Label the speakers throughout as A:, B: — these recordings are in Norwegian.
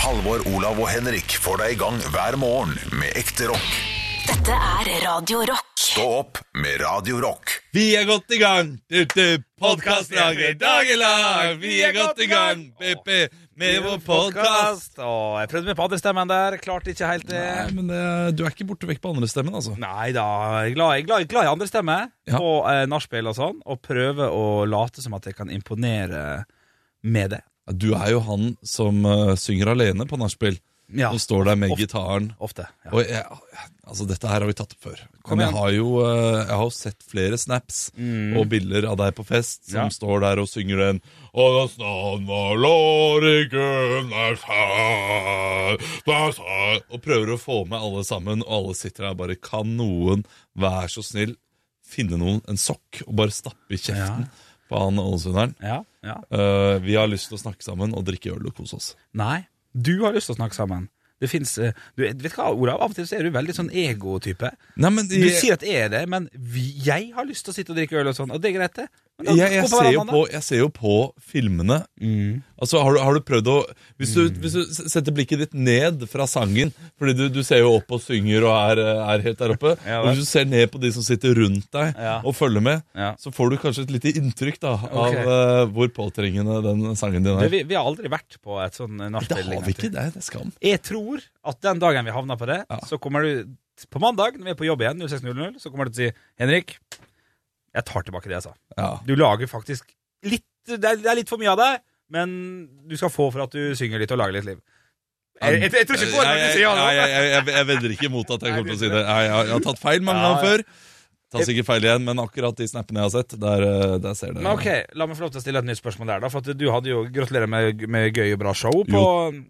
A: Halvor, Olav og Henrik får deg i gang hver morgen med ekte rock.
B: Dette er Radio Rock.
A: Stå opp med Radio Rock.
C: Vi er godt i gang! Podkastlaget Dagelag! Vi er godt i gang Pepe, med vår podkast!
D: Å, Jeg prøvde meg på andrestemmen der, klarte ikke helt det.
C: Nei, men det, du er ikke borte vekk på andre stemmen, altså.
D: Nei da, jeg er glad, jeg er glad, jeg er glad i andrestemme
C: Ja.
D: på eh, nachspiel og sånn, og prøve å late som at jeg kan imponere med det.
C: Du er jo han som eh, synger alene på nachspiel.
D: Ja,
C: Som står der med
D: Ofte.
C: gitaren.
D: ofte. Ja.
C: Og jeg, altså, dette her har vi tatt opp før.
D: Kom
C: Men jeg
D: igjen.
C: har jo eh, jeg har jo sett flere snaps
D: Mm.
C: og bilder av deg på fest som
D: Ja.
C: står der og synger den Og hans navn var Låriken der sa- der sa- Og prøver å få med alle sammen, og alle sitter der bare Kan noen, vær så snill, finne noen en sokk og bare stappe i kjeften på han ålesunderen?
D: Ja, ja.
C: Eh, vi har lyst til å snakke sammen og drikke øl og kose oss.
D: Nei, du har lyst til å snakke sammen. Det finnes, eh, du vet du hva, Olav, av og til så er du veldig sånn ego-type.
C: Nei, men
D: Du sier at jeg er det, men vi, jeg har lyst til å sitte og drikke øl og sånn, og det er greit, det. Men da
C: jeg, jeg,
D: gå
C: ser jo
D: verandaen, da.
C: på, jeg ser jo på filmene. Altså, har du, har du prøvd å hvis du, hvis du s- setter blikket ditt ned fra sangen Fordi du, du ser jo opp og synger og er, eh, er helt der oppe.
D: Ja,
C: og
D: vel.
C: hvis du ser ned på de som sitter rundt deg
D: Ja.
C: og følger med,
D: Ja.
C: så får du kanskje et lite inntrykk da av
D: Ok.
C: eh, hvor påtrengende den sangen din
D: Du,
C: er.
D: vi, vi har aldri vært på et sånn eh,
C: Det
D: nachspiel.
C: har vi
D: egentlig.
C: ikke. Det er, det er skam.
D: Jeg tror at den dagen vi havner på det,
C: Ja.
D: så kommer du på mandag når vi er på jobb igjen, 06.00, så kommer du til å si Henrik, jeg tar tilbake det jeg sa.
C: Ja.
D: Du lager faktisk litt Det er, det er litt for mye av deg, men du skal få for at du synger litt og lager litt liv. Jeg, jeg, jeg tror ikke på det, men du sier ja
C: Eh, Nei,
D: nå.
C: jeg, jeg, jeg, jeg vedder ikke imot at jeg kommer til å si det. Nei, jeg, jeg har tatt feil mange
D: Ja,
C: ganger
D: ja.
C: før. Tar sikkert feil igjen, men akkurat de snappene jeg har sett, der, eh, der ser det
D: Men ok, La meg få lov til å stille et nytt spørsmål der. da For at du hadde jo Gratulerer med, med gøy og bra show på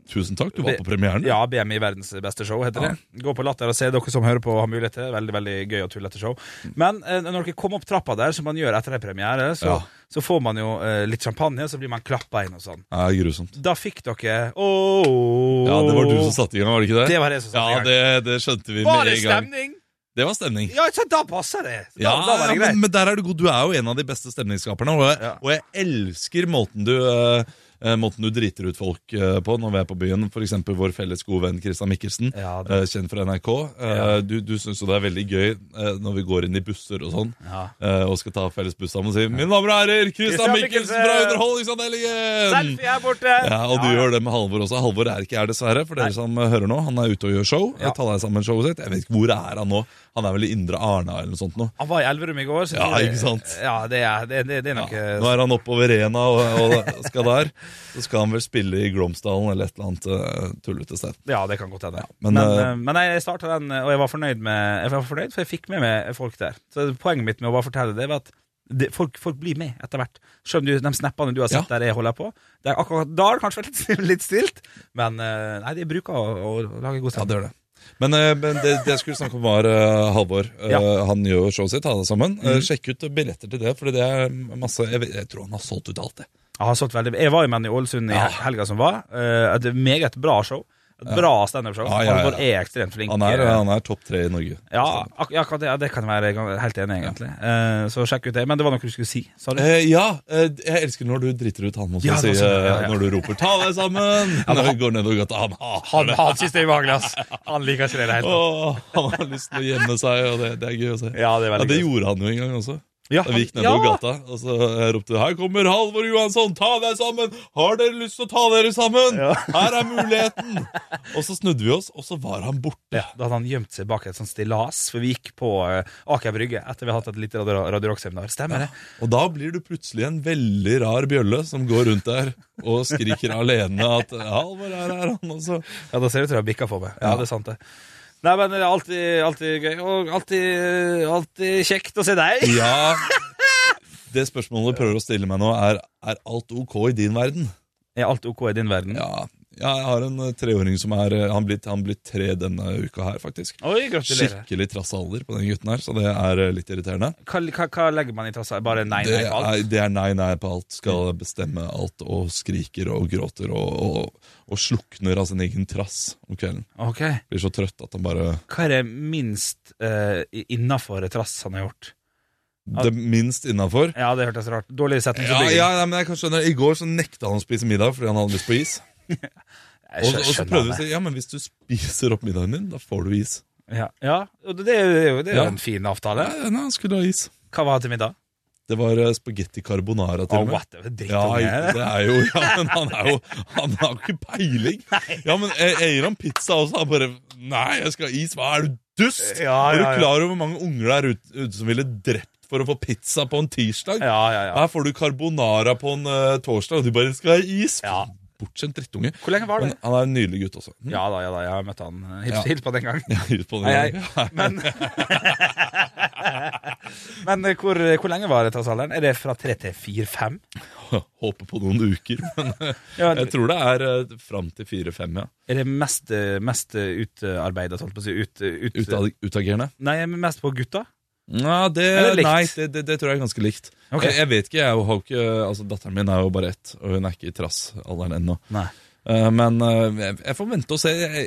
C: Tusen takk, du var på premieren.
D: Ja, BMI verdens beste show heter det. Gå på Latter og se dere som hører på har mulighet til. Veldig veldig gøy og tullete show. Men eh, når dere kommer opp trappa der, som man gjør etter en premiere, så,
C: Ja.
D: så får man jo eh, litt champagne, så blir man klappa inn og sånn.
C: Ja, grusomt.
D: Da fikk dere Ååå
C: Ja, det var du som satte i gang, var det ikke det?
D: Det var jeg som satte
C: ja,
D: i gang.
C: det, det skjønte vi
D: Var
C: med
D: det
C: en gang.
D: stemning?
C: Det var stemning.
D: Ja, så da passer det. Da,
C: Ja,
D: da var
C: ja,
D: det greit.
C: men, men der er du god. Du er jo en av de beste stemningsskaperne, og jeg,
D: Ja.
C: og jeg elsker måten du eh, eh, Måten du driter ut folk eh, på når vi er på byen. For eksempel vår felles gode venn Christian Mikkelsen,
D: Ja, det-
C: eh, kjent fra NRK. Eh, Du, du syns jo det er veldig gøy eh, når vi går inn i busser og sånn,
D: Ja.
C: eh, og skal ta felles buss sammen og si 'Mine damer og herrer, Christian
D: Christian
C: Mikkelsen
D: Mikkelsen!»
C: fra Underholdningsavdelingen!'
D: Selfie her borte.
C: Ja, og du gjør det med Halvor også. Halvor er ikke her, dessverre. For dere som hører nå, Han er ute og gjør show.
D: Ja.
C: Jeg tar deg sammen showet sitt Jeg vet ikke Hvor er han nå? Han er vel i Indre Arna eller noe sånt nå.
D: Han var i Elverum i går. Så
C: Ja,
D: det-
C: ikke sant?
D: Ja, det er, det, det, det er
C: Ja.
D: nok eh,
C: Nå er han oppover Rena og, og skal der. Så skal han vel spille i Glomsdalen eller et eller annet eh, tullete sted.
D: Ja, det kan godt hende.
C: men,
D: men,
C: eh,
D: eh, men jeg starta den, og jeg var fornøyd, med, jeg var fornøyd for jeg fikk med meg folk der. Så Poenget mitt med å bare fortelle det, var at det, folk, folk blir med etter hvert. Selv om du, de snappene du har sett
C: Ja.
D: der jeg holder på det er akkurat, Da har det kanskje vært litt, litt stilt, men eh, nei, de bruker å, å lage
C: Ja,
D: god
C: det
D: stemning.
C: gjør det. Men, eh, men det, det jeg skulle snakke om, var eh, Halvor. Eh,
D: Ja.
C: Han gjør jo showet sitt, ta det sammen. Eh, Sjekk ut billetter til det, for det er masse Jeg, vet- jeg tror han har solgt ut alt, det.
D: jeg, har solgt veldig, jeg var jo med han i Ålesund i
C: Ja.
D: helga som var. eh, et meget bra show. Et bra standup-show.
C: Ja, ja, ja.
D: Halvor er ekstremt flink.
C: Han er,
D: eh,
C: han er topp tre i Norge.
D: ja, ak ja, akkurat det, ja, det kan jeg være gan- helt enig i, egentlig. Eh, så sjekk ut det. Men det var noe du skulle si. Sorry.
C: Eh, ja, eh, jeg elsker når du driter ut han mot
D: Ja,
C: å si
D: det var sånn, ja, ja.
C: eh, når du roper 'ta deg sammen' når vi går nedover gata. Han hater
D: Han,
C: det.
D: han synes det er ubehagelig, ass. Han liker ikke det i det hele tatt.
C: Åh, han har lyst til å gjemme seg, og det, det er gøy å se.
D: Ja, det er
C: Ja,
D: veldig
C: det
D: gøy.
C: gjorde han jo en gang også.
D: Ja,
C: Da vi gikk
D: han-
C: nedover
D: ja.
C: gata, og så eh, ropte 'Her kommer Halvor Johansson! Ta deg sammen! Har dere lyst til å ta dere sammen?
D: Ja.
C: Her er muligheten!' Og så snudde vi oss, og så var han borte.
D: Ja, da hadde han gjemt seg bak et sånt stillas, for vi gikk på eh, Aker Brygge etter vi hadde hatt et lite Radio, radio Rock-seminar. Stemmer det?
C: Og da blir du plutselig en veldig rar bjølle som går rundt der og skriker alene at 'Halvor er her, han også'.
D: Ja, da ser det ut til å ha bikka for meg. Ja,
C: Ja.
D: det er sant, det. Nei, men det er alltid, alltid gøy, og alltid, alltid kjekt å se deg.
C: Ja Det spørsmålet du prøver å stille meg nå er Er alt ok i din verden?
D: Er alt ok i din verden?
C: Ja, ja jeg har en eh, treåring som er eh, Han blir, han blir tre denne uka her faktisk
D: Oi, gratulerer.
C: Skikkelig trassalder på den gutten her Så det er eh, litt irriterende
D: Hva, hva, hva legger man i trassa? Bare nei,
C: det
D: nei på alt?
C: er, det er nei, nei på alt Skal bestemme alt og skriker og gråter Og, og, og slukner av sin egen trass om kvelden
D: Ok.
C: Blir så trøtt at han bare
D: Hva er det minst uh, innafor trass han har gjort?
C: Det minst innenfor
D: Ja, det hørtes rart. Dårlig
C: ja,
D: setningsoppbygging.
C: ja, nei, men jeg kan skjønne I går så nekta han å spise middag fordi han hadde lyst på is
D: Jeg
C: Og,
D: skjø-
C: og så
D: skjønner
C: prøvde vi å
D: det.
C: si ja, men hvis du spiser opp middagen din, da får du is.
D: Ja, ja og det, det er jo, det er jo, det er jo
C: Ja.
D: en fin avtale.
C: Nei, nei, han skulle ha is.
D: Hva var det til middag?
C: Det var eh, spagetti carbonara til
D: Oh,
C: og med.
D: what the
C: Ja,
D: drittunge. er det?
C: det er jo Ja, men han er jo Han har jo ikke peiling. Ja, men jeg, jeg gir ham pizza også. Han bare Nei, jeg skal ha is. Hva er du, dust?
D: Ja,
C: Er
D: ja, ja.
C: du klar over hvor mange unger der ute ute som ville drept for å få pizza på en tirsdag?
D: Ja, ja, ja.
C: Her får du carbonara på en eh, torsdag, og du bare skal ha is.
D: Ja.
C: Bortskjemt drittunge.
D: Hvor lenge var
C: Men
D: det?
C: han er en nydelig gutt også.
D: Ja da, ja da, jeg har møtt han. eh,
C: Mm.
D: Hils,
C: Ja.
D: hils på den gang.
C: Ut på den
D: Nei,
C: gangen.
D: jeg, men men eh, hvor, hvor lenge var det tross alderen? Er det fra tre til fire-fem?
C: Håper på noen uker, men eh,
D: Ja,
C: jeg tror det er eh, fram til fire-fem, ja.
D: er det mest, eh, mest utarbeida, holdt på å si? Ut, eh, ut,
C: Utad- Utagerende.
D: Nei, men mest på gutta?
C: Ja, det,
D: Eller likt?
C: Nei, det, det, det tror jeg er ganske likt.
D: Ok.
C: Jeg, jeg vet ikke, jeg har jo ikke altså, Datteren min er jo bare ett, og hun er ikke i trassalderen ennå.
D: Nei.
C: Eh, men eh, jeg, jeg får vente og se. Jeg,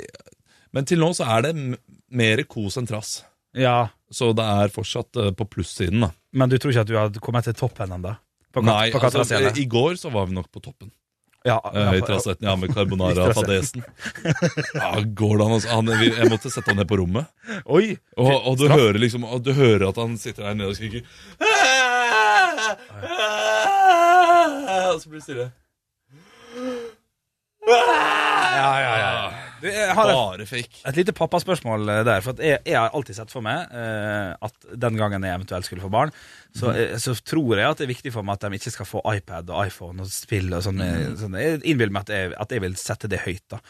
C: men til nå så er det m- mer kos enn trass.
D: Ja,
C: Så det er fortsatt eh, på plussiden, da.
D: men du tror ikke at du hadde kommet til toppen ennå? På, kat-
C: Nei,
D: på
C: altså,
D: katrasene?
C: I går så var vi nok på toppen.
D: ja,
C: eh, I
D: på-
C: trassetten, ja, med
D: I trassett.
C: carbonara-fadesen. Ja, går det an, altså? Han, jeg måtte sette han ned på rommet.
D: Oi!
C: Og, og, du hører liksom, og du hører at han sitter der nede og skriker Og så blir det stille.
D: Ja, ja, ja. Du, jeg har et,
C: Bare fake.
D: et lite pappaspørsmål eh, der. For at jeg, jeg har alltid sett for meg eh, at den gangen jeg eventuelt skulle få barn, så, eh, så tror jeg at det er viktig for meg at de ikke skal få iPad og iPhone og spill og sånn. eh, sånn. Jeg innbiller meg at jeg, at jeg vil sette det høyt, da.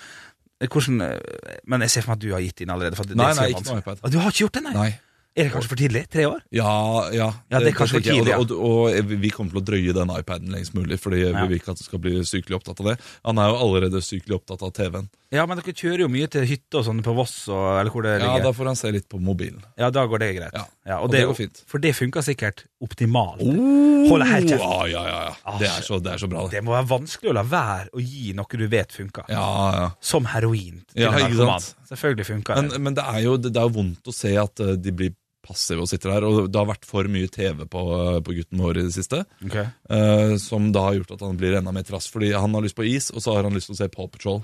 D: Eh, Hvordan, eh, men jeg ser for meg at du har gitt inn allerede. For at det,
C: Nei,
D: det
C: nei,
D: er så
C: ikke noe
D: vanskelig.
C: iPad.
D: Ah, Du har ikke gjort det, nei?
C: Nei.
D: Er det kanskje for tidlig? Tre år?
C: Ja, ja.
D: Ja, det er kanskje for
C: tenker jeg.
D: tidlig, ja.
C: Og, og, og vi kommer til å drøye den iPaden lengst mulig, fordi
D: Ja.
C: vi vil ikke at du skal bli sykelig opptatt av det. Han er jo allerede sykelig opptatt av TV-en.
D: Ja, men dere kjører jo mye til hytte og sånn på Voss og eller hvor det
C: Ja,
D: ligger.
C: Da får han se litt på mobilen.
D: Ja, da går Oh. det greit.
C: Ja,
D: og
C: og
D: det,
C: det går fint.
D: For det funker sikkert optimalt. Holder helt kjeft.
C: Ja, ja, ja, ja. Det, er så, det er så bra, det.
D: Det må være vanskelig å la være å gi noe du vet funker.
C: Ja, ja.
D: Som heroin. til
C: Ja,
D: en
C: ikke
D: narkoman.
C: sant?
D: Selvfølgelig funker
C: Men,
D: det.
C: men det, er jo, det, det er jo vondt å se at eh, de blir passive og sitter der. Og det har vært for mye TV på, eh, på gutten vår i det siste,
D: Ok.
C: eh, som da har gjort at han blir enda mer trass. Fordi han har lyst på is, og så har han lyst til å se Paw Patrol.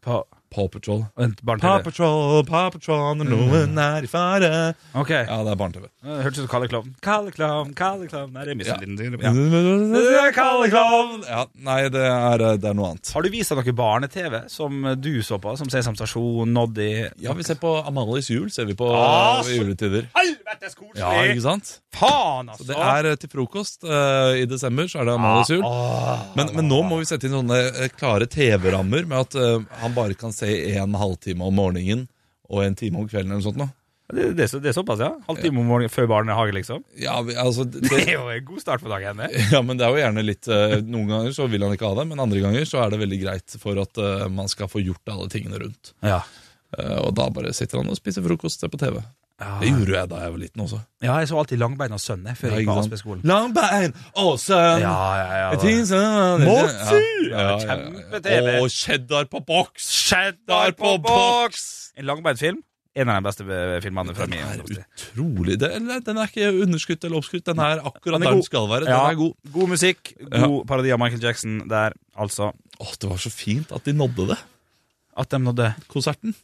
D: Pa,
C: Paw Patrol.
D: vent, barn
C: Paw
D: til det.
C: Patrol, Paw Patrol, når noen er i fare
D: Ok.
C: Ja, det er barne-TV.
D: Hørtes ut som Kalle Klovn. Kalle Klovn, Kalle Klovn Nei, det er
C: Ja.
D: misforstått. Ja.
C: Kalleklovn! Ja, nei, det er, eh, det er noe annet.
D: Har du vist deg noe barne-TV som du så på, som Sesam Stasjon, Noddy
C: Ja, vi ser på Amalies jul, ser vi på
D: Ah, så-
C: eh, juletider.
D: Helvetes koselig!
C: Ja, ikke sant?
D: Faen, altså!
C: Så det er eh, til frokost eh, i desember, så er det Amalies jul. Men, men nå må vi sette inn sånne eh, klare TV-rammer med at eh, han bare kan se en halvtime om morgenen og en time om kvelden eller noe sånt. Nå.
D: Det, det, er så- det er såpass, ja? Halv time om morgenen før barnehage, liksom?
C: Ja, vi- altså,
D: Det
C: det,
D: er jo en god start på dagen. det.
C: ja, men det er jo gjerne litt eh, Noen ganger så vil han ikke ha det, men andre ganger så er det veldig greit for at eh, man skal få gjort alle tingene rundt.
D: Ja.
C: Eh, og da bare sitter han og spiser frokost og ser på TV. Det gjorde jeg da jeg var liten også.
D: ja, jeg så alltid Langbein og Sønne før jeg gikk
C: Ja,
D: på
C: ikke sant?
D: Aspeskolen.
C: Lang bein! Å, sønn!
D: Ja, ja, ja.
C: Ting
D: da.
C: som-
D: Måsi!
C: Ja, ja, ja.
D: Kjempe-TV.
C: Og cheddar på boks!
D: Cheddar på boks! En langbeint-film. En av de beste eh, filmene fra
C: Den
D: min
C: er
D: ungdomstid.
C: utrolig det, eller, Den er ikke underskutt eller oppskutt. Den er akkurat
D: Den er
C: der
D: god.
C: den skal være. Den
D: Ja,
C: er god.
D: god musikk, god parodi av Michael Jackson der, altså.
C: Åh, Det var så fint at de nådde det.
D: At de nådde
C: Konserten.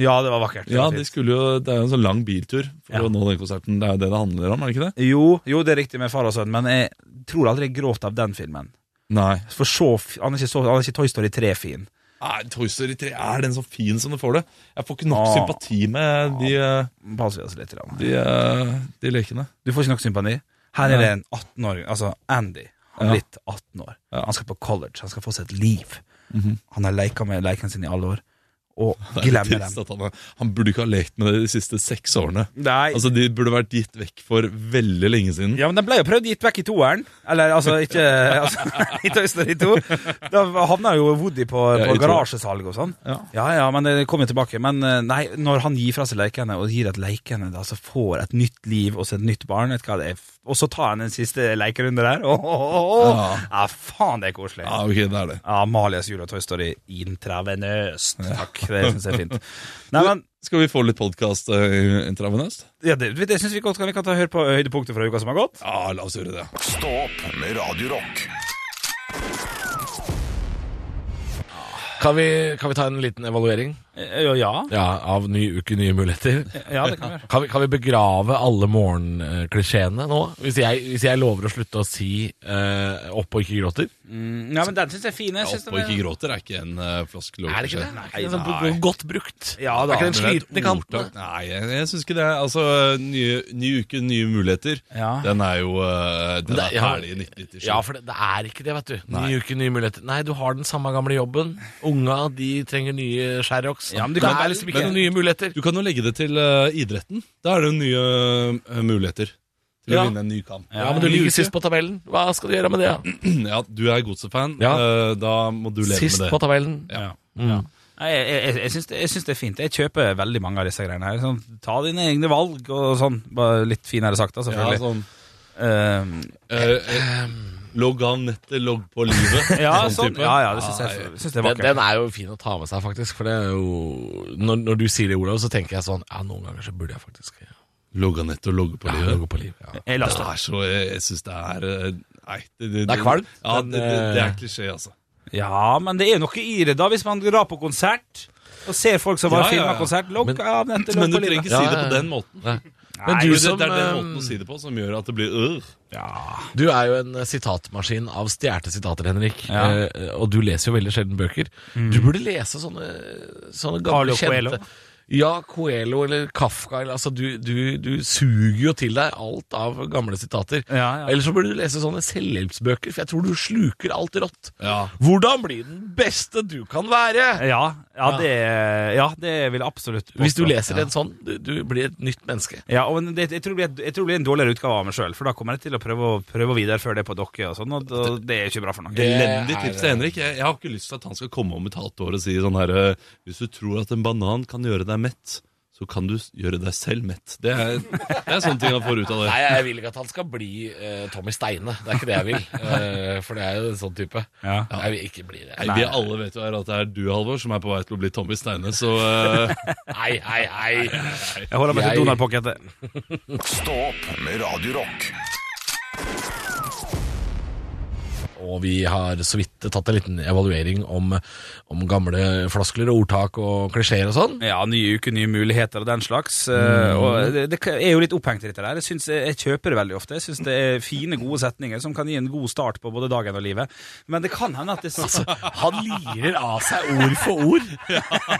D: Ja, det var vakkert. det
C: Ja,
D: var
C: de
D: fint.
C: skulle jo, Det er jo en sånn lang biltur for
D: Ja.
C: å nå den konserten. Det er jo det det handler om, er det ikke det?
D: jo, jo, det er riktig med far og sønn, men jeg tror aldri jeg gråt av den filmen.
C: Nei.
D: For så, f- han er ikke, så, han er ikke Toy Story 3-fin.
C: Nei, Toy Story 3 er den så fin som du får det. Jeg får ikke nok
D: Åh.
C: sympati med de, eh,
D: Passer vi oss litt. Grann.
C: de, eh, de lekene.
D: Du får ikke nok sympati. Her er det en 18-åring, altså Andy. Han
C: Ja.
D: er
C: Mhm.
D: blitt 18 år. Han skal på college, han skal få seg et liv. Han har leka med lekene sine i alle år, og
C: Det er litt
D: glemmer
C: trist
D: dem.
C: at han, er- han burde ikke ha lekt med det de siste seks årene.
D: Nei.
C: Altså, De burde vært gitt vekk for veldig lenge siden.
D: ja, men Den ble jo prøvd gitt vekk i toeren. Eller altså, ikke altså, I Toy Story 2. Da havna jo Woody på,
C: Ja, i
D: på
C: toeren.
D: garasjesalg og sånn.
C: Ja.
D: Ja ja, men det kommer jo tilbake. Men eh, nei, når han gir fra seg lekene, og gir at lekene da, så får et nytt liv og så et nytt barn, vet du hva det er, og så tar han en siste lekerunde der, åh, åh, åh, åh. Ja, faen, det er koselig.
C: Ja, ok, det er det.
D: Ja, Amalias jul og Toy Story intravenøst. Takk, det syns jeg er fint. Nei, men
C: Skal vi få litt podkast uh, intravenøst?
D: ja, det, det syns vi godt kan, vi kan ta og høre på høydepunktet fra uka som har gått.
C: Ja, la oss gjøre det.
A: Stå opp med Radio Rock.
E: Kan vi, kan vi ta en liten evaluering
D: Eh, jo, Ja,
E: ja, av ny uke, nye muligheter?
D: ja, det kan vi gjøre.
E: Kan vi, kan vi begrave alle morgenklisjeene nå? Hvis jeg, hvis jeg lover å slutte å si eh, 'opp og ikke gråter'?
D: Mm, Ja, men den syns jeg er fin. Jeg synes
C: Opp og
D: den
C: ikke
D: er...
C: gråter er ikke en uh, floskel.
E: Er det ikke det?
C: kanskje.
E: Er ikke det sånn Godt brukt.
D: Ja
C: Men
D: da.
E: Er ikke den
C: det er et
E: slitne kanten?
C: ordtak. Nei, jeg, jeg syns ikke det. Altså, nye, ny uke, nye muligheter.
D: Ja.
C: Den er jo eh, Den
E: Det-
C: er
E: ja.
C: ferdig i 1997.
E: Ja, for det, det er ikke det, vet du. Ny uke, nye muligheter. Nei, du har den samme gamle jobben. Unga, de trenger nye Sherrox.
D: Ja, men du
E: det
D: kan-
E: er liksom ikke
D: men-
E: noen nye muligheter.
C: Du kan jo legge det til eh, idretten. Da er det jo nye eh, muligheter til å
E: Ja.
C: vinne en ny kamp.
E: Ja, men du
C: Ny
E: ligger
C: uke.
E: sist på tabellen. Hva skal du gjøre med det? da?
C: Ja, du er Godset-fan.
E: Ja.
C: eh, da må du leve
E: Sist
C: med
E: på
C: det.
E: tabellen. Mm.
D: Ja. Ja. Nei, Jeg, jeg, jeg, syns det, jeg syns det er fint. Jeg kjøper veldig mange av disse greiene her. Sånn, ta dine egne valg og sånn. Bare litt finere sagt, da,
C: Ja,
D: selvfølgelig.
C: sånn
D: Ehm,
C: eh, eh, Logg av nettet, logg på livet.
D: Ja,
C: sånn
D: sånn,
C: type.
D: ja, ja, det syns jeg, syns jeg er
E: Den,
D: vakkert.
E: den er jo fin å ta med seg, faktisk. For det er jo Når, når du sier det, Olav, så tenker jeg sånn Ja, noen ganger så burde jeg faktisk ja,
C: Logg av nettet og logge på livet.
E: gå på liv. Ja.
D: Jeg
C: Det
D: laster.
C: er så, jeg, jeg syns det er eh, Nei. Det,
E: Det er kvalmt,
C: Ja,
E: men,
C: det, det, det
E: eh,
C: er klisjé, altså.
D: Ja, men det er jo noe i det, da. Hvis man drar på konsert og ser folk som
C: Ja, ja,
D: bare
C: ja.
D: filmer konsert, logg
E: Men-
D: av nettet.
C: Men
D: logg
C: du
D: på livet.
C: trenger ikke
E: Ja,
C: si
E: ja,
C: det på
E: ja.
C: den måten.
E: Nei.
C: Nei,
E: Men du
C: det,
E: som
C: det er den måten
E: eh,
C: å si det på som gjør at det blir øh.
E: Du er jo en eh, sitatmaskin av stjerte sitater, Henrik.
D: Ja.
E: Eh, og du leser jo veldig sjelden bøker. Du burde lese sånne, sånne gamle
D: Carlo Coelho.
E: kjente Ja, Coelho eller Kafka. Eller, altså, du, du, du suger jo til deg alt av gamle sitater.
D: Ja, ja.
E: Eller så burde du lese sånne selvhjelpsbøker, for jeg tror du sluker alt rått.
C: Ja.
E: Hvordan bli den beste du kan være?
D: Ja, ja, det, ja, det vil jeg absolutt påstå.
E: Hvis du leser en sånn, du, du blir et nytt menneske.
D: Ja, og men det, jeg, tror det blir, jeg tror det blir en dårligere utgave av meg sjøl, for da kommer jeg til å prøve å, prøve å videreføre det på dere, og sånn, og, da- det er ikke bra for noen.
C: Elendig tips til Henrik. Jeg, jeg har ikke lyst til at han skal komme om et halvt år og si sånn herre Hvis du tror at en banan kan gjøre deg mett, så kan du s- gjøre deg selv mett. Det er, det er sånne ting han får ut av det.
E: Nei, jeg vil ikke at han skal bli eh, Tommy Steine. Det er ikke det jeg vil. Eh, for det er jo en sånn type.
D: Ja.
E: Jeg vil ikke bli det.
C: Nei, vi alle vet jo her at det er du, Halvor, som er på vei til å bli Tommy Steine, så eh,
E: Nei, nei, nei.
D: Jeg holder meg
E: Jeg-
D: til Donald-pocketet.
A: Stå opp med Radio Rock.
E: Og vi har så vidt tatt en liten evaluering om, om gamle floskler og ordtak og klisjeer og sånn.
D: Ja, nye uker, nye muligheter og den slags. eh, Og det, det er jo litt opphengt i dette der. Jeg, synes, jeg kjøper det veldig ofte. Jeg syns det er fine, gode setninger som kan gi en god start på både dagen og livet. Men det kan hende at det
E: Altså, han lirer av seg ord for ord.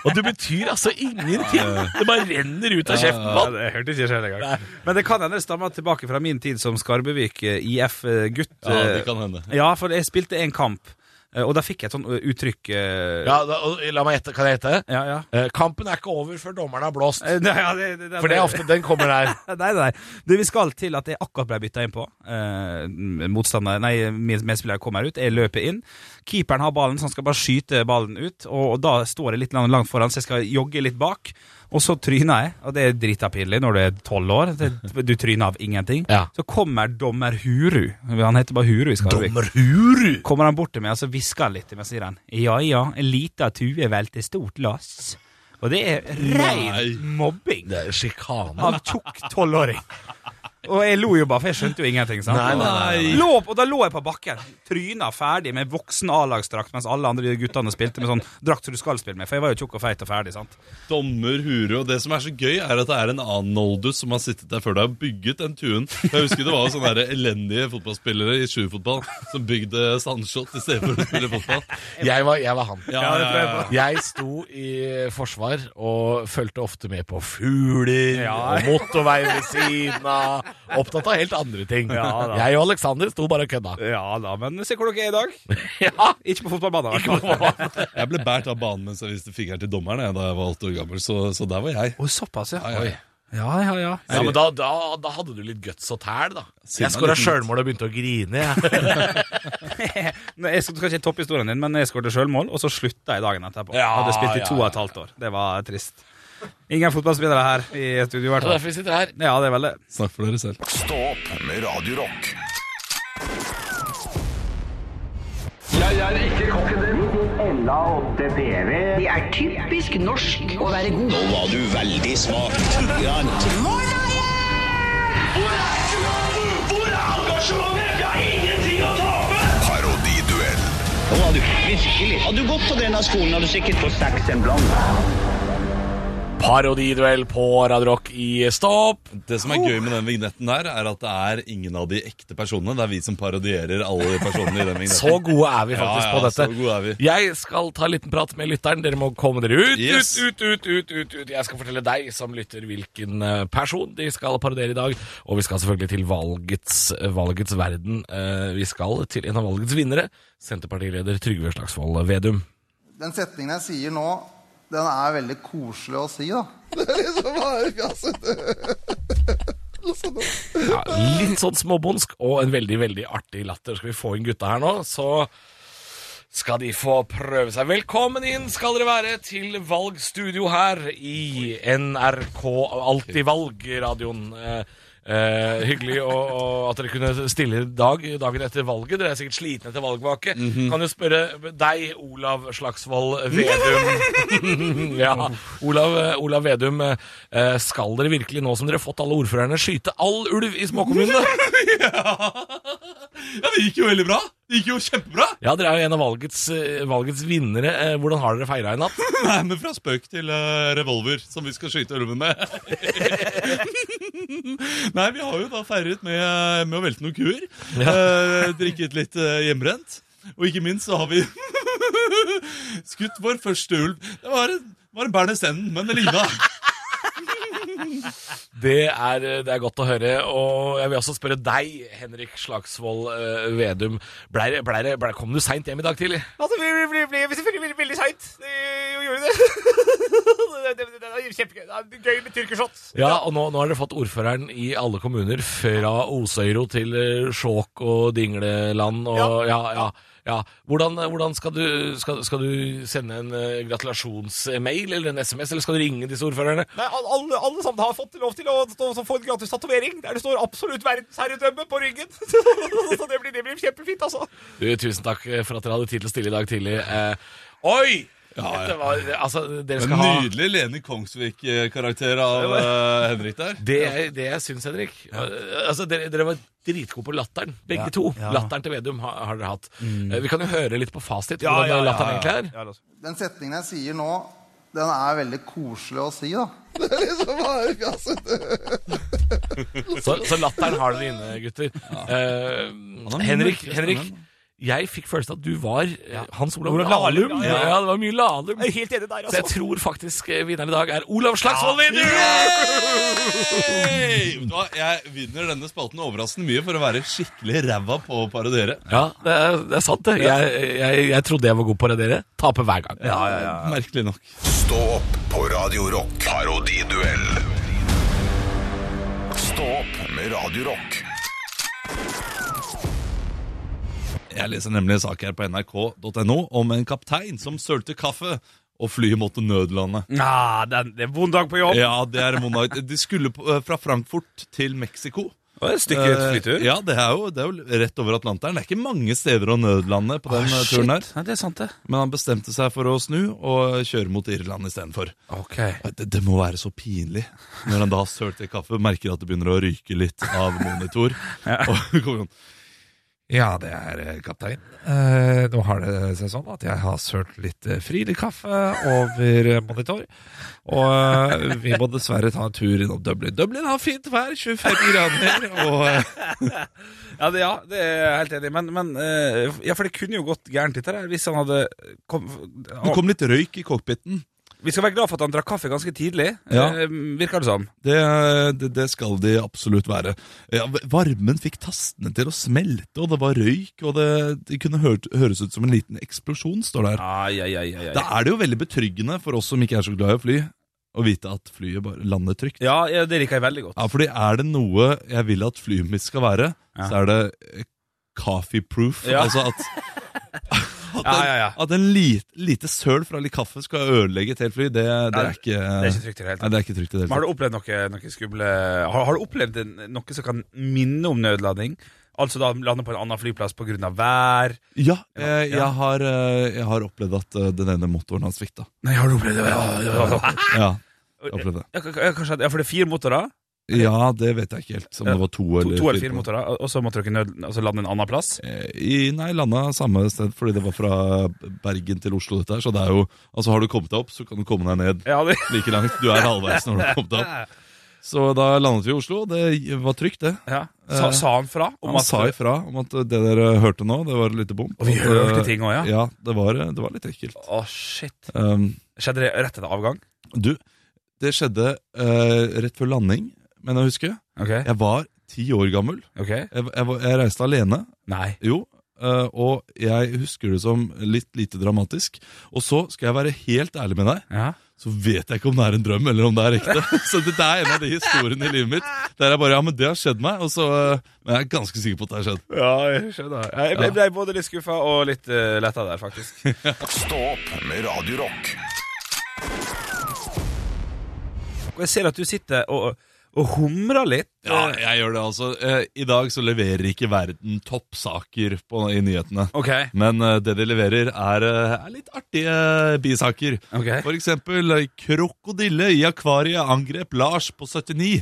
E: Og det betyr altså ingenting. Det bare renner ut av kjeften
D: Ja,
E: på han.
D: det hørte ikke selv engang. Men det kan hende det stammer tilbake fra min tid som Skarbevik eh, IF-gutt.
C: Ja, det kan hende.
D: Ja, for jeg spilte en kamp, eh, og da fikk jeg et sånt eh, uttrykk eh,
E: Ja, da, og la meg gjette. Kan jeg gjette?
D: ja, ja.
E: Eh, kampen er ikke over før dommeren har blåst.
D: Eh, Nei, ja, det, det, det,
E: For det er ofte den kommer der.
D: Nei, nei. Du, vi skal til at jeg akkurat ble bytta inn på. Eh, motstander, nei, min medspiller kommer ut, jeg løper inn. Keeperen har ballen, så han skal bare skyte ballen ut. Og, og da står jeg litt langt, langt foran, så jeg skal jogge litt bak. Og så tryner jeg, og det er drita pinlig når du er tolv år. Det, du tryner av ingenting.
E: Ja.
D: Så kommer dommer Huru. Han heter bare Huru i Skarvik.
E: Huru!
D: Kommer han bort til meg og så hvisker han litt til meg, sier han Ja ja, en lita tue velter stort lass. Og det er
C: Nei.
D: rein mobbing
E: Det er sjikane.
D: av tjukk tolvåring. Og jeg lo jo bare, for jeg skjønte jo ingenting. sant?
E: Nei, nei,
C: nei, nei.
D: Lå, og da lå jeg på bakken, tryna ferdig med voksen A-lagsdrakt, mens alle andre guttene spilte med sånn drakt som du skal spille med, for jeg var jo tjukk og feit og ferdig. sant?
C: Dommer Hure, og det som er så gøy, er at det er en annen oldus som har sittet der før det har bygget den tuen. Jeg husker det var jo sånne der elendige fotballspillere i sjuerfotball som bygde sandshot i stedet for å spille fotball.
E: Jeg var, jeg var han.
C: Ja,
D: det tror jeg på.
E: Jeg sto i forsvar og fulgte ofte med på fugler
D: Ja.
E: og motorvei ved siden av. Opptatt av helt andre ting.
D: Ja, da.
E: jeg og Aleksander sto bare og kødda.
D: Ja da, men se hvor dere er i dag.
E: Ja,
D: Ikke på fotballbanen. i hvert fall.
C: Jeg ble båret av banen mens jeg viste fingeren til dommeren jeg, da jeg var åtte år gammel, så, så der var jeg.
D: Å, såpass, ja.
C: Oi.
D: Ja, ja, ja.
E: ja men da, da, da hadde du litt guts og tæl, da.
C: Siden
E: jeg skåra
C: han liten-
E: sjølmål og begynte å grine. Jeg.
D: Nei, Jeg skal skal ikke toppe historien din, men jeg skåret sjølmål, og så slutta jeg dagen etterpå.
E: Ja,
D: Hadde spilt i
E: ja,
D: to og et halvt år. Det var trist. Ingen fotballspillere her i studio, i hvert
E: Det er
D: fall.
E: derfor vi sitter her.
D: Ja, det er vel det.
C: Snakk for dere selv.
A: Stå opp med Radio Rock.
F: Jeg er ikke kokken din. Ella 8 PV.
G: Det er typisk norsk å være god.
H: Nå var du veldig smart. Grann.
I: Hvor er engasjementet? Hvor er engasjementet? Vi har ingenting å tape!
A: Parodiduell.
H: Nå var du virkelig. Hadde du gått på denne skolen, hadde du sikkert fått seks en blant.
E: Parodiduell på Radio Rock i Stopp.
C: Det som er gøy med den vignetten der, er at det er ingen av de ekte personene. Det er vi som parodierer alle personene i den vignetten.
E: Så gode er vi faktisk
C: Ja, ja,
E: på dette.
C: så gode er vi.
E: Jeg skal ta en liten prat med lytteren. Dere må komme dere ut,
C: Yes.
E: ut, ut, ut, ut, ut. Jeg skal fortelle deg som lytter hvilken eh, person de skal parodiere i dag. Og vi skal selvfølgelig til valgets, eh, valgets verden. Eh, Vi skal til en av valgets vinnere, Senterpartileder Trygve Slagsvold Vedum.
I: Den setningen jeg sier nå, den er veldig koselig å si, da. Det er liksom bare fjaset.
E: Ja, litt sånn småbonsk og en veldig, veldig artig latter. Skal vi få inn gutta her nå, så skal de få prøve seg. Velkommen inn skal dere være til valgstudio her i NRK Alltid Valg-radioen. Eh, eh, hyggelig å, å, at dere kunne stille dag, dagen etter valget. Dere er sikkert slitne etter valgvake. Kan jo spørre deg, Olav Slagsvold Vedum. ja, Olav, eh, Olav Vedum, eh, eh, skal dere virkelig nå som dere har fått alle ordførerne, skyte all ulv i småkommunene?
C: Ja, det gikk jo veldig bra. Det gikk jo kjempebra.
E: Ja, dere er jo en av valgets, eh, valgets vinnere. Eh, Hvordan har dere feira i natt?
C: Nei, men fra spøk til eh, revolver, som vi skal skyte ulven med. Nei, vi har jo da feiret med, eh, med å velte noen kuer. eh, drikket litt eh, hjemmebrent. Og ikke minst så har vi skutt vår første ulv. Det var en, var en Bernes Enden, men det ligna.
E: Det er, eh, det er godt å høre. Og jeg vil også spørre deg, Henrik Slagsvold eh, Vedum. Blei, det- blei, det- blei, kom du seint hjem i dag tidlig?
J: Altså, vi ble, ble, ble selvfølgelig veldig, veldig seint. Vi gjorde det. det, det, det, det er kjempegøy. Det er gøy med tyrkershot.
E: Ja, og nå, nå har dere fått ordføreren i alle kommuner, fra Osøyro til eh, Skjåk og Dingleland og Ja, ja. ja. Hvordan, hvordan skal, du, skal, skal du sende en eh, gratulasjonsmail eller en SMS, eller skal du ringe disse ordførerne?
J: Nei, al- alle, alle sammen har fått lov til å stå, så få en gratis tatovering der det står 'absolutt verdensherredømme' på ryggen. så det blir, det blir kjempefint, altså.
E: Du, tusen takk for at dere hadde tid til å stille i dag tidlig. Eh, oi! Dette var, altså, dere skal ha
C: Nydelig Lene Kongsvik-karakter av eh, Henrik der.
E: det, jeg- det jeg syns, Henrik eh, altså, dere, dere var dritgode på latteren, begge to. Latteren til Vedum har, har dere hatt. Eh, Vi kan jo høre litt på fasit hvordan latteren egentlig er.
J: Mm. Ja, la oss-
I: Den setningen jeg sier nå, den er veldig koselig å si, da. Det er liksom bare fjaset.
E: Så, så latteren har dere inne, gutter. Eh, Henrik, Henrik jeg fikk følelsen av at du var eh, Hans Olav Lahlum. Ja, det var mye Lahlum.
J: Jeg er helt enig der,
E: Så jeg
J: altså.
E: tror faktisk eh, vinneren i dag er Olav Slagsvold Vedum!
C: Yay! Vet du hva, Jeg vinner denne spalten overraskende mye for å være skikkelig ræva på å parodiere.
E: Ja, det er, det er sant det. Jeg, jeg, jeg trodde jeg var god på det dere. Taper hver gang.
C: Merkelig nok.
A: Stå opp på Radio Rock. Parodiduell. Stå opp med Radio Rock.
C: Jeg leser nemlig en sak her på nrk.no om en kaptein som sølte kaffe og flyet måtte nødlande.
D: Nah, den, det er vond dag på jobb.
C: Ja, det er Monark. De skulle på, eh, fra Frankfurt til Mexico.
D: Det var et stykke
C: Eh,
D: flytur.
C: Ja, det er, jo, det er jo rett over Atlanteren. Det er ikke mange steder å nødlande på den eh, turen her.
D: det er sant, det.
C: Men han bestemte seg for å snu og eh, kjøre mot Irland istedenfor.
D: Ok.
C: Det, det må være så pinlig når han da har sølt i kaffe, merker at det begynner å ryke litt av monitor. Og kommer sånn Ja, det er eh, kaptein. Eh, nå har det seg sånn at jeg har sølt litt eh, frilig kaffe over eh, monitor. Og eh, vi må dessverre ta en tur innom Dublin. Dublin har fint vær, 25 grader, og eh,
D: Ja, det, ja, det er jeg helt enig i. Men, men eh, Ja, for det kunne jo gått gærent, dette der, hvis han hadde kom,
C: Det kom litt røyk i cockpiten.
D: Vi skal være glad for at han drakk kaffe ganske tidlig,
C: Ja.
D: eh, virker det som.
C: Det, det, det skal de absolutt være. Ja, varmen fikk tastene til å smelte, og det var røyk, og det, det kunne hørt, høres ut som en liten eksplosjon, står det her.
D: Ai, ai, ai, ai, ai.
C: Da er det jo veldig betryggende for oss som ikke er så glad i å fly, å vite at flyet bare lander trygt.
D: Ja, ja, det liker jeg veldig godt.
C: Ja, fordi er det noe jeg vil at flyet mitt skal være,
D: Ja.
C: så er det eh, coffee-proof.
D: Ja.
C: Altså at at
D: Ja,
C: en,
D: ja, ja.
C: At en lite, lite søl fra litt kaffe skal ødelegge et helt fly, det, det,
D: Ja,
C: er, ikke,
D: Det er ikke trygt i det
C: Nei,
D: hele tatt.
C: det er ikke trygt i det hele
D: Men har du opplevd noe, noe skumle har, har du opplevd en- noe som kan minne om nødlanding? Altså da lande på en annen flyplass pga. vær?
C: Ja,
D: Ja,
C: eh,
D: ja.
C: Jeg, har, eh, jeg har opplevd at eh, den ene motoren har svikta.
D: Nei, har du opplevd det? Ja, ja, ja.
C: Ja, jeg har opplevd det.
D: Ja, k- k- kanskje, at- ja, for det er fire motorer?
C: Ja, det vet jeg ikke helt. Om det var to
D: To,
C: eller
D: to eller fire
C: på-
D: motorer, og- og så måtte dere nød, altså lande en annen plass?
C: Eh, I, nei, landa samme sted, fordi det var fra Bergen til Oslo, dette her. Så det er jo Altså, har du kommet deg opp, så kan du komme deg ned
D: Ja, det,
C: like langt. Du er halvveis når du har kommet deg opp. Så da landet vi i Oslo, og det var trygt, det.
D: ja. Sa, sa Eh, han fra? om
C: Han
D: at-
C: sa ifra om at det dere hørte nå, det var et lite bom.
D: Og vi
C: At,
D: hørte
C: eh,
D: ting også, ja.
C: Ja, det var, det var litt ekkelt.
D: Å, shit.
C: Um,
D: Skjedde det rett etter avgang?
C: du, det skjedde eh, rett før landing, men jeg husker.
D: Ok,
C: Jeg var ti år gammel.
D: ok.
C: Jeg, jeg, var- jeg reiste alene.
D: Nei.
C: Jo, eh, og jeg husker det som litt lite dramatisk. Og så skal jeg være helt ærlig med deg,
D: Ja.
C: så vet jeg ikke om det er en drøm eller om det er ekte. Så det det er en av de historiene i livet mitt der jeg bare Ja, men det har skjedd meg. Og så, eh, men jeg er ganske sikker på at det har skjedd.
D: Ja, jeg skjønner. Jeg ble, ble både litt skuffa og litt uh, letta der, faktisk.
A: Stå opp med Radio Rock.
D: Og jeg ser at du sitter og, og humrer litt.
C: Ja, jeg gjør det, altså. Eh, I dag så leverer ikke verden toppsaker på, i nyhetene.
D: Ok.
C: Men eh, det de leverer, er, eh, er litt artige eh, bisaker.
D: Ok.
C: For eksempel eh, krokodille i akvariet angrep Lars på 79.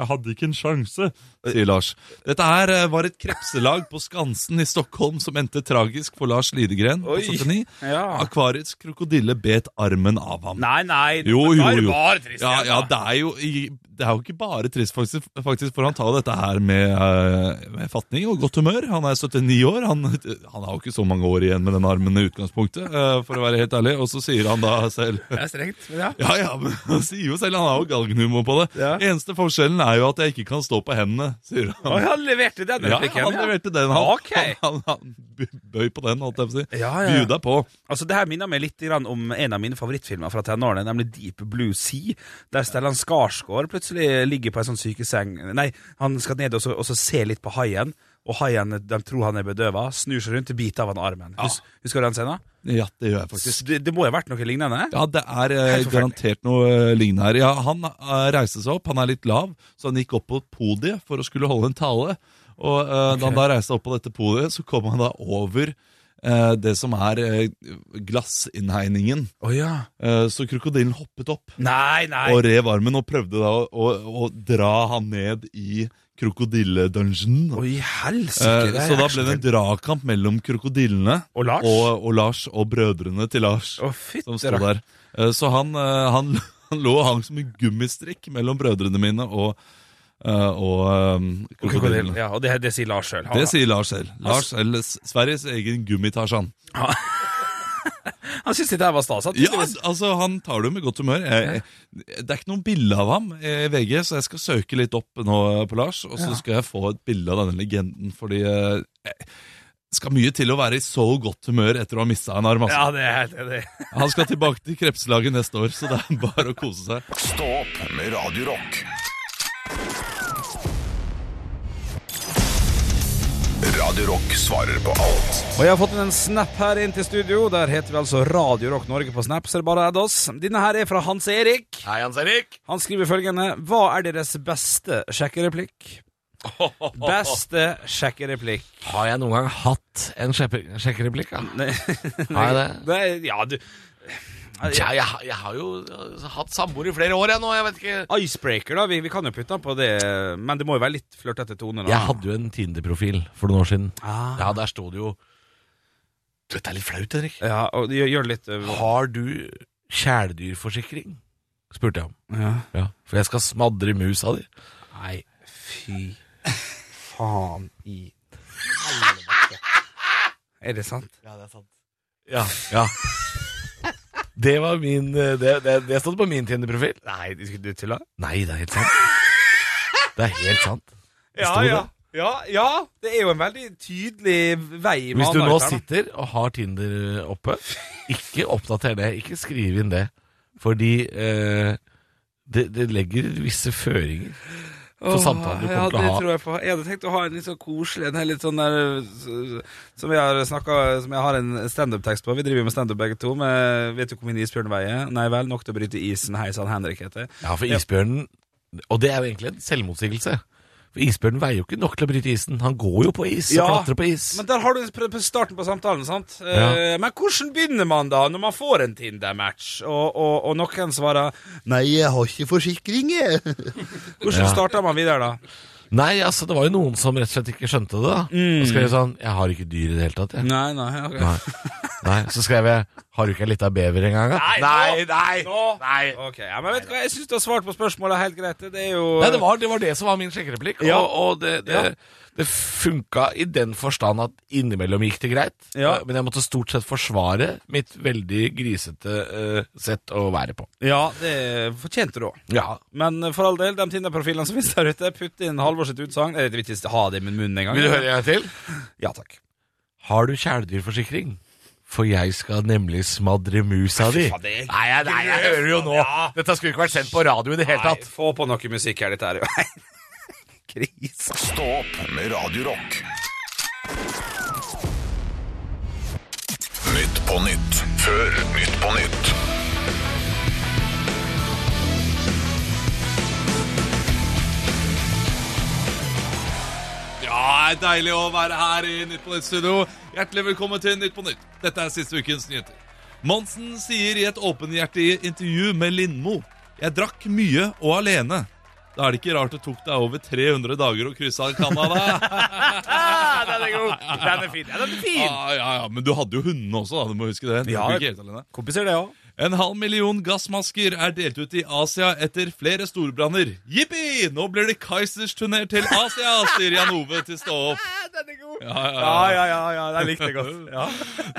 C: Jeg hadde ikke en sjanse, sier Lars. Dette her eh, var et krepselag på Skansen i Stockholm som endte tragisk for Lars Lidegren på
D: Oi.
C: 79.
D: Ja.
C: Akvariets krokodille bet armen av ham.
D: Nei, nei.
C: Jo,
D: da
C: jo,
D: er det
C: jo.
D: bare trist,
C: Ja, ja,
D: altså.
C: det er jo i- Det er jo ikke bare trist, faktisk, faktisk for han tar jo dette her med, eh, med fatning og godt humør. Han er 79 år. Han, han har jo ikke så mange år igjen med den armen i utgangspunktet, eh, for å være helt ærlig. Og så sier han da selv
D: Det er strengt, men ja.
C: Ja, ja, men han sier jo selv, han har jo galgenhumor på det.
D: Ja.
C: Eneste forskjellen er jo at jeg ikke kan stå på hendene, sier
D: Å,
C: han.
D: han leverte den
C: Ja,
D: replikken.
C: han leverte den. Han,
D: Ok.
C: han, han, han bøy på den, holdt jeg på å si.
D: Ja, ja.
C: Bjuda på.
D: Altså, det her minner meg litt grann om en av mine favorittfilmer fra tenårene, nemlig Deep Blue Sea, der Stellan Skarsgård plutselig ligger på en sånn sykeseng Nei, han skal ned og så, og så se litt på haien, og haien de tror han er bedøva, snur seg rundt og biter av han armen. Hus, husker du den scenen?
C: Ja, det gjør jeg faktisk.
D: Det, det må jo ha vært noe lignende?
C: Ja, det er eh,
D: forferdelig.
C: garantert noe eh, lignende her. Ja, han eh, reiste seg opp, han er litt lav, så han gikk opp på podiet for å skulle holde en tale. Og eh, da han da reiste opp på dette podiet, så kom han da over eh, det som er eh, glassinnhegningen.
D: Å ja.
C: Eh, så krokodillen hoppet opp
D: Nei, nei.
C: og rev armen og prøvde da å, å, å dra han ned i krokodilledungen.
D: Å, i helsike!
C: Eh,
D: det er
C: så da ble det en
D: action.
C: dragkamp mellom krokodillene
D: Og Lars?
C: og, og Lars og brødrene til Lars
D: Å, fytti
C: som sto
D: rakker.
C: der. Eh, Så han, eh, han, han lå og hang som en gummistrikk mellom brødrene mine og, eh, og eh,
D: Krokodillen.
C: krokodillene.
D: Ja, og det, det sier Lars sjøl.
C: Det
D: Han,
C: sier Lars selv. Lars selv, S- Sveriges egen gummitarsan.
D: han syns dette her var stas. han.
C: Ja, altså, han tar det jo med godt humør. Jeg, jeg- det er ikke noe bilde av ham i VG, så jeg skal søke litt opp nå eh, på Lars, og så skal jeg få et bilde av denne legenden, fordi eh, jeg skal mye til å være i så godt humør etter å ha mista en arm.
D: ja
C: Altså.
D: det er helt enig.
C: Han skal tilbake til krepslaget neste år, så det er bare å kose seg.
A: Stå opp med Radio Rock. Radio Rock svarer på alt.
D: Og jeg har fått inn en snap her inn til studio. Der heter vi altså Radio Rock Norge på snap, så det er bare å adde oss. Denne her er fra Hans Erik.
E: Hei, Hans Erik.
D: Han skriver følgende Hva er deres beste sjekkereplikk? Beste sjekkereplikk.
E: Har jeg noen gang hatt en sjekke- sjekkereplikk? da?
D: Nei,
E: Har jeg det?
D: Nei, ja, du
E: Ja, jeg, har- jeg har jo altså, hatt samboer i flere år, jeg nå. Jeg vet ikke
D: Icebreaker, da. Vi, vi kan jo putte den på det, men det må jo være litt flørtete tone. Da.
E: Jeg hadde jo en Tinder-profil for noen år siden.
D: Ah.
E: Ja, Der sto det jo Du vet, det er litt flaut, Henrik.
D: Ja, og gjør, gjør det litt øh,
E: Har du kjæledyrforsikring? spurte jeg om.
D: ja.
E: Ja, For jeg skal smadre musa di.
D: Nei, fy faen i helvete. Er det sant?
E: Ja, ja. Det var min eh, Det, det, det stod på min Tinder-profil. Nei, du, du tulla? Nei, det er helt sant. Det er helt sant. Det
D: Ja,
E: sto
D: ja.
E: det.
D: Ja, ja, det er jo en veldig tydelig vei
E: Hvis
D: man
E: du
D: har
E: nå
D: ut her, da.
E: sitter og har Tinder eh, oppe, ikke oppdater det. Ikke skriv inn det. Fordi eh, det, det legger visse føringer for
D: Åh,
E: samtalen du
D: ja,
E: kommer til
D: det
E: å ha.
D: tror jeg på. Jeg hadde tenkt å ha en litt sånn koselig en her litt sånn der øh, Som vi har snakket Som jeg har en standup-tekst på. Vi driver jo med standup begge to. Med, vet du hvor min isbjørn veier? Nei vel, nok til å bryte isen. Hei sann, Henrik heter jeg.
E: Ja, for isbjørnen Og det er jo egentlig en selvmotsigelse. For isbjørnen veier jo ikke nok til å bryte isen. Han går jo på is og klatrer på is.
D: Men der har du pr- pr- starten på samtalen, sant? Eh,
E: Ja.
D: Men hvordan begynner man da, når man får en Tinder-match, og, og, og noen svarer Nei, jeg har ikke forsikring, jeg. hvordan starter man videre da?
E: Nei, altså, det var jo noen som rett og slett ikke skjønte det. da. Og skrev sånn 'Jeg har ikke dyr i det hele tatt', jeg.
D: Nei, Mm. nei, ok.
E: Nei. Nei. Så skrev jeg 'Har du ikke ei lita bever engang', da?'
D: Nei,
E: nei,
D: nå- Ok, ja, men vet du hva, jeg syns du har svart på spørsmålet helt greit. Det er jo
E: Nei, det var, det var det som var min sjekkereplikk.
D: Ja.
E: Og, og det, det, det funka i den forstand at innimellom gikk det greit.
D: Ja.
E: eh, Men jeg måtte stort sett forsvare mitt veldig grisete eh, sett å være på.
D: Ja, det fortjente du òg.
E: Ja.
D: Men eh, for all del, de Tinder-profilene som finnes der ute, putt inn Halvor sitt utsagn. Jeg vil ikke ha det i min munn engang.
E: Vil du høre en gang til?
D: Ja takk.
E: Har du kjæledyrforsikring? For jeg skal nemlig smadre musa di.
D: faen, det er
E: Nei, jeg- nei, jeg hører jo nå. Dette skulle ikke vært sendt på radio i det hele
D: Nei,
E: tatt.
D: få på noe musikk her, dette er jo Krise.
A: Stå opp med Radio Rock. Nytt på nytt før Nytt på nytt.
C: Ja, deilig å være her i Nytt på Nytt studio. Hjertelig velkommen til Nytt på Nytt. Dette er siste ukens nyheter. Monsen sier i et åpenhjertig intervju med Lindmo Jeg drakk mye og alene. Da er det ikke rart det tok deg over 300 dager å krysse Canada.
D: Ja, den er god. Den er fin. Ja, den er fin.
C: Ah, ja, ja, men du hadde jo hundene også, da. Du må huske det. Du
D: Ja,
C: gikk ikke helt alene.
D: Kompiser, det òg.
C: En halv million gassmasker er delt ut i Asia etter flere storbranner. Jippi! Nå blir det Kaizers turné til Asia, sier Jan Ove til Stå opp.
D: Den er god.
C: Ja, ja,
D: Ja, ja, ja, ja den likte jeg godt. Ja.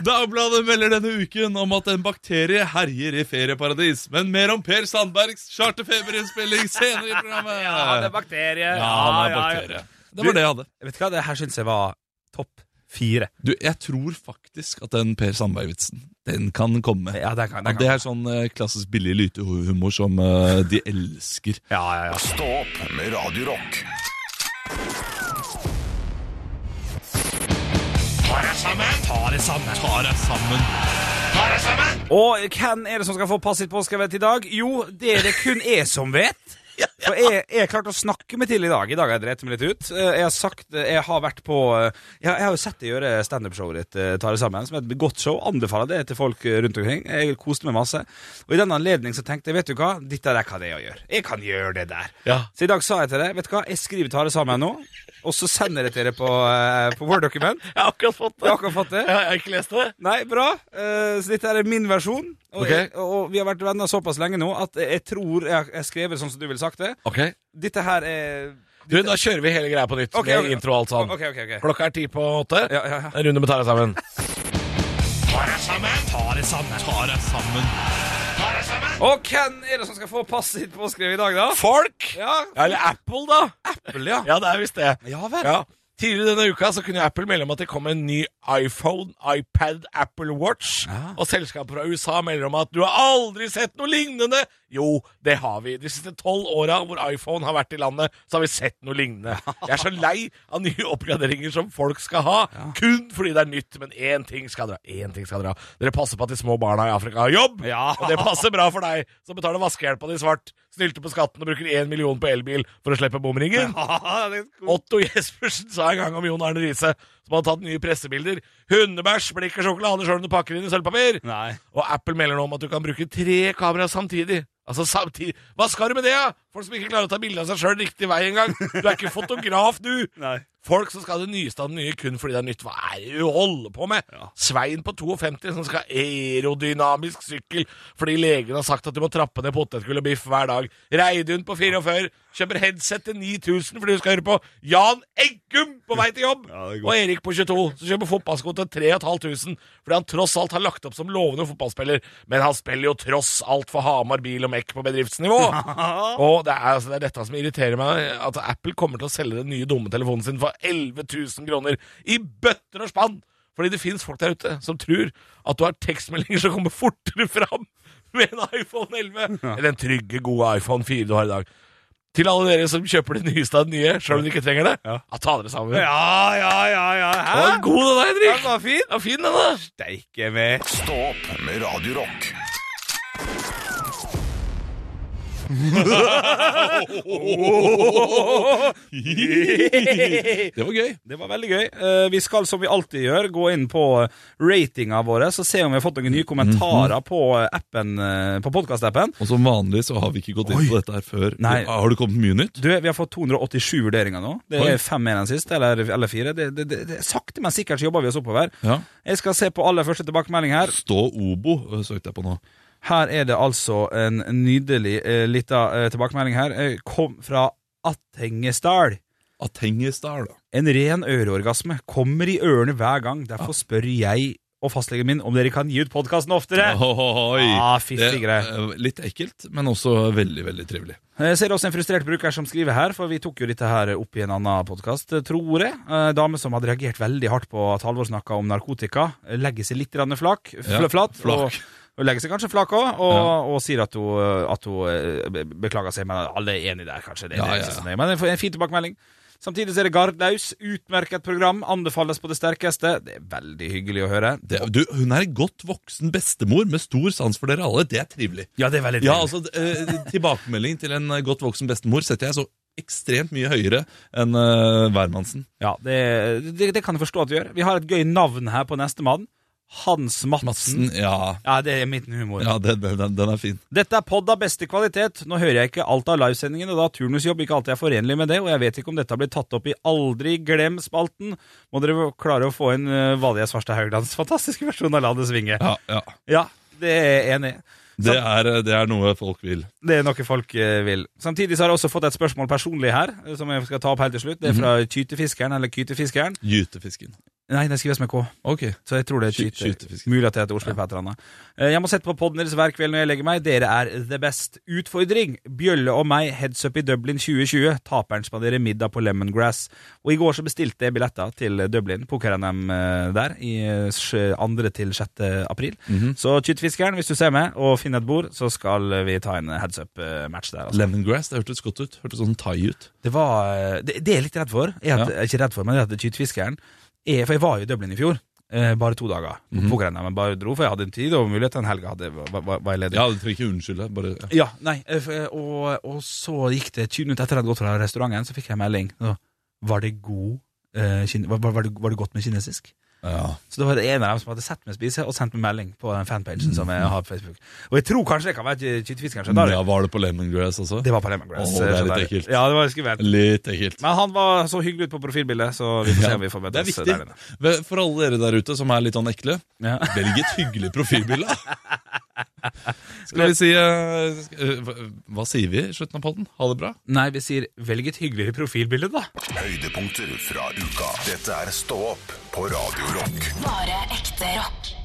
C: Dagbladet melder denne uken om at en bakterie herjer i ferieparadis. Men mer om Per Sandbergs charterfeberinnspilling senere i programmet.
D: ja, det er bakterie.
C: Ja, det er bakterie. Det var det jeg hadde.
D: Vet du hva, det her syns jeg var topp fire.
C: Du, jeg tror faktisk at den Per Sandberg-vitsen, den kan komme.
D: Ja, den kan,
C: Ja,
D: den
C: det
D: kan.
C: er sånn eh, klassisk billig lytehumor som eh, de elsker.
D: Ja, ja, ja.
A: Stå opp med Radio Rock.
C: Ta deg sammen.
D: Og hvem er det som skal få passet påskrevet i dag? Jo, det er det kun jeg som vet. For jeg, jeg klarte å snakke meg til i dag. I dag har jeg drept meg litt ut. Eh, Jeg har sagt Jeg har vært på eh, Jeg, jeg har jo sett deg gjøre standup-showet ditt, eh, Ta det sammen, som er et godt show. Anbefaler det til folk eh, rundt omkring. Jeg koste meg masse. Og i den anledning så tenkte jeg, vet du hva, dette der kan jeg jo gjøre. Jeg kan gjøre det der.
E: Ja.
D: Så i dag sa jeg til deg, vet du hva, jeg skriver Ta det sammen nå, og så sender jeg til dere på, eh, på Word-dokument.
E: Jeg har akkurat fått
D: Jeg har akkurat fått det.
E: Jeg har ikke lest det.
D: Nei, bra. Eh, så dette er min versjon. Og,
E: Ok.
D: jeg, og vi har vært venner såpass lenge nå at jeg tror jeg har skrevet sånn som du ville sagt det.
E: Ok.
D: Dette her er
E: Du, da kjører vi hele greia på nytt
D: Ok,
E: med
D: ok.
E: intro og alt sånn.
D: OK, OK. ok
E: Klokka er ti på åtte.
D: Ja, ja, ja.
E: En runde med Tara sammen.
C: Ta deg sammen.
D: Og hvem er det som skal få passet sitt påskrevet i dag, da?
E: Folk!
D: Ja,
E: Eller Apple, da.
D: Apple, ja.
E: Ja, det er visst det.
D: Ja vel.
E: Ja. Tidligere denne uka så kunne Apple melde om at det kom en ny iPhone, iPad, Apple Watch. Og selskapet fra USA melder om at du har aldri sett noe lignende. Jo, det har vi. De siste tolv åra hvor iPhone har vært i landet, så har vi sett noe lignende. Jeg er så lei av nye oppgraderinger som folk skal ha, kun fordi det er nytt. Men én ting skal dere ha. Én ting skal dere ha. Dere passer på at de små barna i Afrika har jobb.
D: Ja.
E: Og det passer bra for deg, som betaler vaskehjelpa di svart, snylte på skatten og bruker én million på elbil for å slippe bomringen.
D: det er cool.
E: Otto Jespersen sa en gang om Jon Arne Riise, som hadde tatt nye pressebilder. Hundebæsj blir ikke sjokolade sjøl om du pakker det inn i sølvpapir.
D: Nei.
E: Og Apple melder nå om at du kan bruke tre kameraer samtidig. Altså samtidig Hva skal du med det, da? Folk som ikke klarer å ta bilde av seg sjøl riktig vei engang. Du er ikke fotograf, du.
D: Nei.
E: Folk som skal ha det nyeste av det nye kun fordi det er nytt. Hva er det du holder på med? Svein på 52 som skal ha aerodynamisk sykkel fordi legen har sagt at du må trappe ned potetgull og biff hver dag. Reidun på 44 kjøper headset til 9000 fordi du skal høre på Jan Eggum på vei til jobb. og Erik på 22 som kjøper fotballsko til 3500 fordi han tross alt har lagt opp som lovende fotballspiller, men han spiller jo tross alt for Hamar bil og Mek på bedriftsnivå. Og det er, altså, det er dette som irriterer meg, at Apple kommer til å selge den nye dumme telefonen sin for 11 000 kroner i bøtter og spann! Fordi det fins folk der ute som tror at du har tekstmeldinger som kommer fortere fram med en iPhone 11 enn den trygge, gode iPhone 4 du har i dag. Til alle dere som kjøper det nyeste av det nye, sjøl om de ikke trenger det, ja. ta dere sammen.
D: Ja, ja, ja, ja.
E: Det var
D: Hæ?
E: god, den der,
D: Den
E: Henrik!
D: var fin.
E: Ja, fin, den, da.
D: Steike meg.
A: Stå opp med Radio Rock.
C: Det var gøy.
E: Det var veldig gøy. Eh, Vi skal som vi alltid gjør, gå inn på eh, ratinga våre og se om vi har fått noen nye kommentarer
C: Mhm.
E: på eh, appen, eh, på podkastappen.
C: Og som vanlig så har vi ikke gått inn på dette her før.
E: Nei.
C: Har det kommet mye nytt?
E: Du, Vi har fått 287 vurderinger nå. Det
C: Oi.
E: er fem mer enn sist, eller, eller fire. Det, det, det, det, sakte, men sikkert så jobber vi oss oppover.
C: Ja.
E: Jeg skal se på aller første tilbakemelding her.
C: Stå Obo øh, søkte jeg på nå.
E: Her er det altså en nydelig uh, lita eh, tilbakemelding her. Eh, kom fra Attengesdal.
C: Atengestar, da.
E: En ren øreorgasme kommer i ørene hver gang. Derfor spør jeg og fastlegen min om dere kan gi ut podkasten oftere.
C: Oi.
E: Ah, fiffig
C: Det
E: greie.
C: er eh, Litt ekkelt, men også veldig, veldig trivelig.
E: Jeg ser også en frustrert bruker som skriver her, for vi tok jo dette her opp i en annen podkast, tror jeg. Eh, Dame som hadde reagert veldig hardt på at Halvor snakka om narkotika. eh, Legger seg litt grann flak, fl
C: Ja,
E: flat,
C: flak.
E: Og, og legger seg kanskje flak òg, og,
C: Ja.
E: og sier at hun, at hun eh, be- beklager seg, men alle er enige der, kanskje. Det,
C: Ja,
E: det er
C: ja,
E: ikke
C: ja.
E: så nøye. Men det er en fin tilbakemelding. Samtidig så er det Gardlaus. Utmerket program. Anbefales på det sterkeste. Det er veldig hyggelig å høre.
C: Det, du, hun er en godt voksen bestemor med stor sans for dere alle. Det er trivelig.
E: Ja, det er veldig
C: Ja, altså, eh, Tilbakemelding til en eh, godt voksen bestemor setter jeg så ekstremt mye høyere enn eh, hvermannsen.
E: Ja, det, det, det kan jeg forstå at du gjør. Vi har et gøy navn her på nestemann. Hans Madsen.
C: Madsen, ja,
E: Ja, det er midten humor.
C: ja den, den- den, den er fin.
E: Dette er podd av beste kvalitet. Nå hører jeg ikke alt av livesendingen, og da turnusjobb ikke alltid er forenlig med det, og jeg vet ikke om dette blir tatt opp i Aldri glem-spalten. Må dere klare å få inn uh, Valje Svarstad Hauglands fantastiske versjon av La det svinge.
C: Ja, ja.
E: Ja, det er jeg enig i.
C: Det, er, eh, det er noe folk vil.
E: Det er noe folk eh, vil. Samtidig så har jeg også fått et spørsmål personlig her, eh, som jeg skal ta opp helt til
C: Mhm.
E: slutt. Det er fra Kytefiskeren, eller Kytefiskeren.
C: Gytefisken.
E: Nei, den skrives med K.
C: Ok.
E: Så jeg tror det er
C: Sky-
E: skyte,
C: skytefiske.
E: mulig at det heter ordspill på et eller annet. Eh, Jeg må sette på podden deres hver kveld når jeg legger meg. Dere er the best. Utfordring. Bjølle og meg, heads up i Dublin 2020. Taperen spanderer middag på Lemongrass. Og i går så bestilte jeg billetter til Dublin, poker-NM eh, der, i eh, sj- 2. til 6. april.
C: Mhm.
E: Så kyttfiskeren, hvis du ser meg og finner et bord, så skal vi ta en heads up-match der. Altså.
C: Lemongrass, det hørtes godt ut. Hørtes sånn thai ut.
E: Det var eh, Det, det er jeg litt redd for. Jeg er at, Ikke redd for, men det er at kytfiskeren er For jeg var jo i Dublin i fjor. eh, bare to dager.
C: Mhm.
E: på grenene, men bare dro, for jeg hadde en tid og mulighet. Den helga hadde- var, var, var jeg ledig.
C: Ja, du trenger ikke unnskylde. Bare, ja.
E: Ja, nei, eh, for- og, og så gikk det 20 minutter etter at jeg hadde gått fra restauranten, så fikk jeg en melding. Så, var det god eh, kine, var, var, det, var det godt med kinesisk?
C: Ja.
E: Så det var det en av dem som hadde sett meg spise, og sendt meg melding på den fanpagen som jeg har på Facebook. Og jeg tror kanskje det kan være kytefiskeren. skjønner du?
C: ja, Var det på lemongrass også?
E: Det var på Lemongrass.
C: Åh, det er
E: skjønner
C: litt
E: du.
C: ekkelt.
E: Ja, det var skummelt.
C: Litt ekkelt.
E: Men han var så hyggelig ut på profilbildet, så vi får se om vi får
C: Det er
E: møtes
C: viktig.
E: der inne.
C: Ve- For alle dere der ute som er litt sånn ekle,
E: Ja.
C: velg et hyggelig profilbilde. Skal vi si eh, sk- eh, hva- Hva sier vi i slutten av podden? Ha det bra?
E: Nei, vi sier velg et hyggeligere profilbilde, da.
A: Høydepunkter fra uka. Dette er Stå opp på Radio Rock.
B: Bare ekte rock.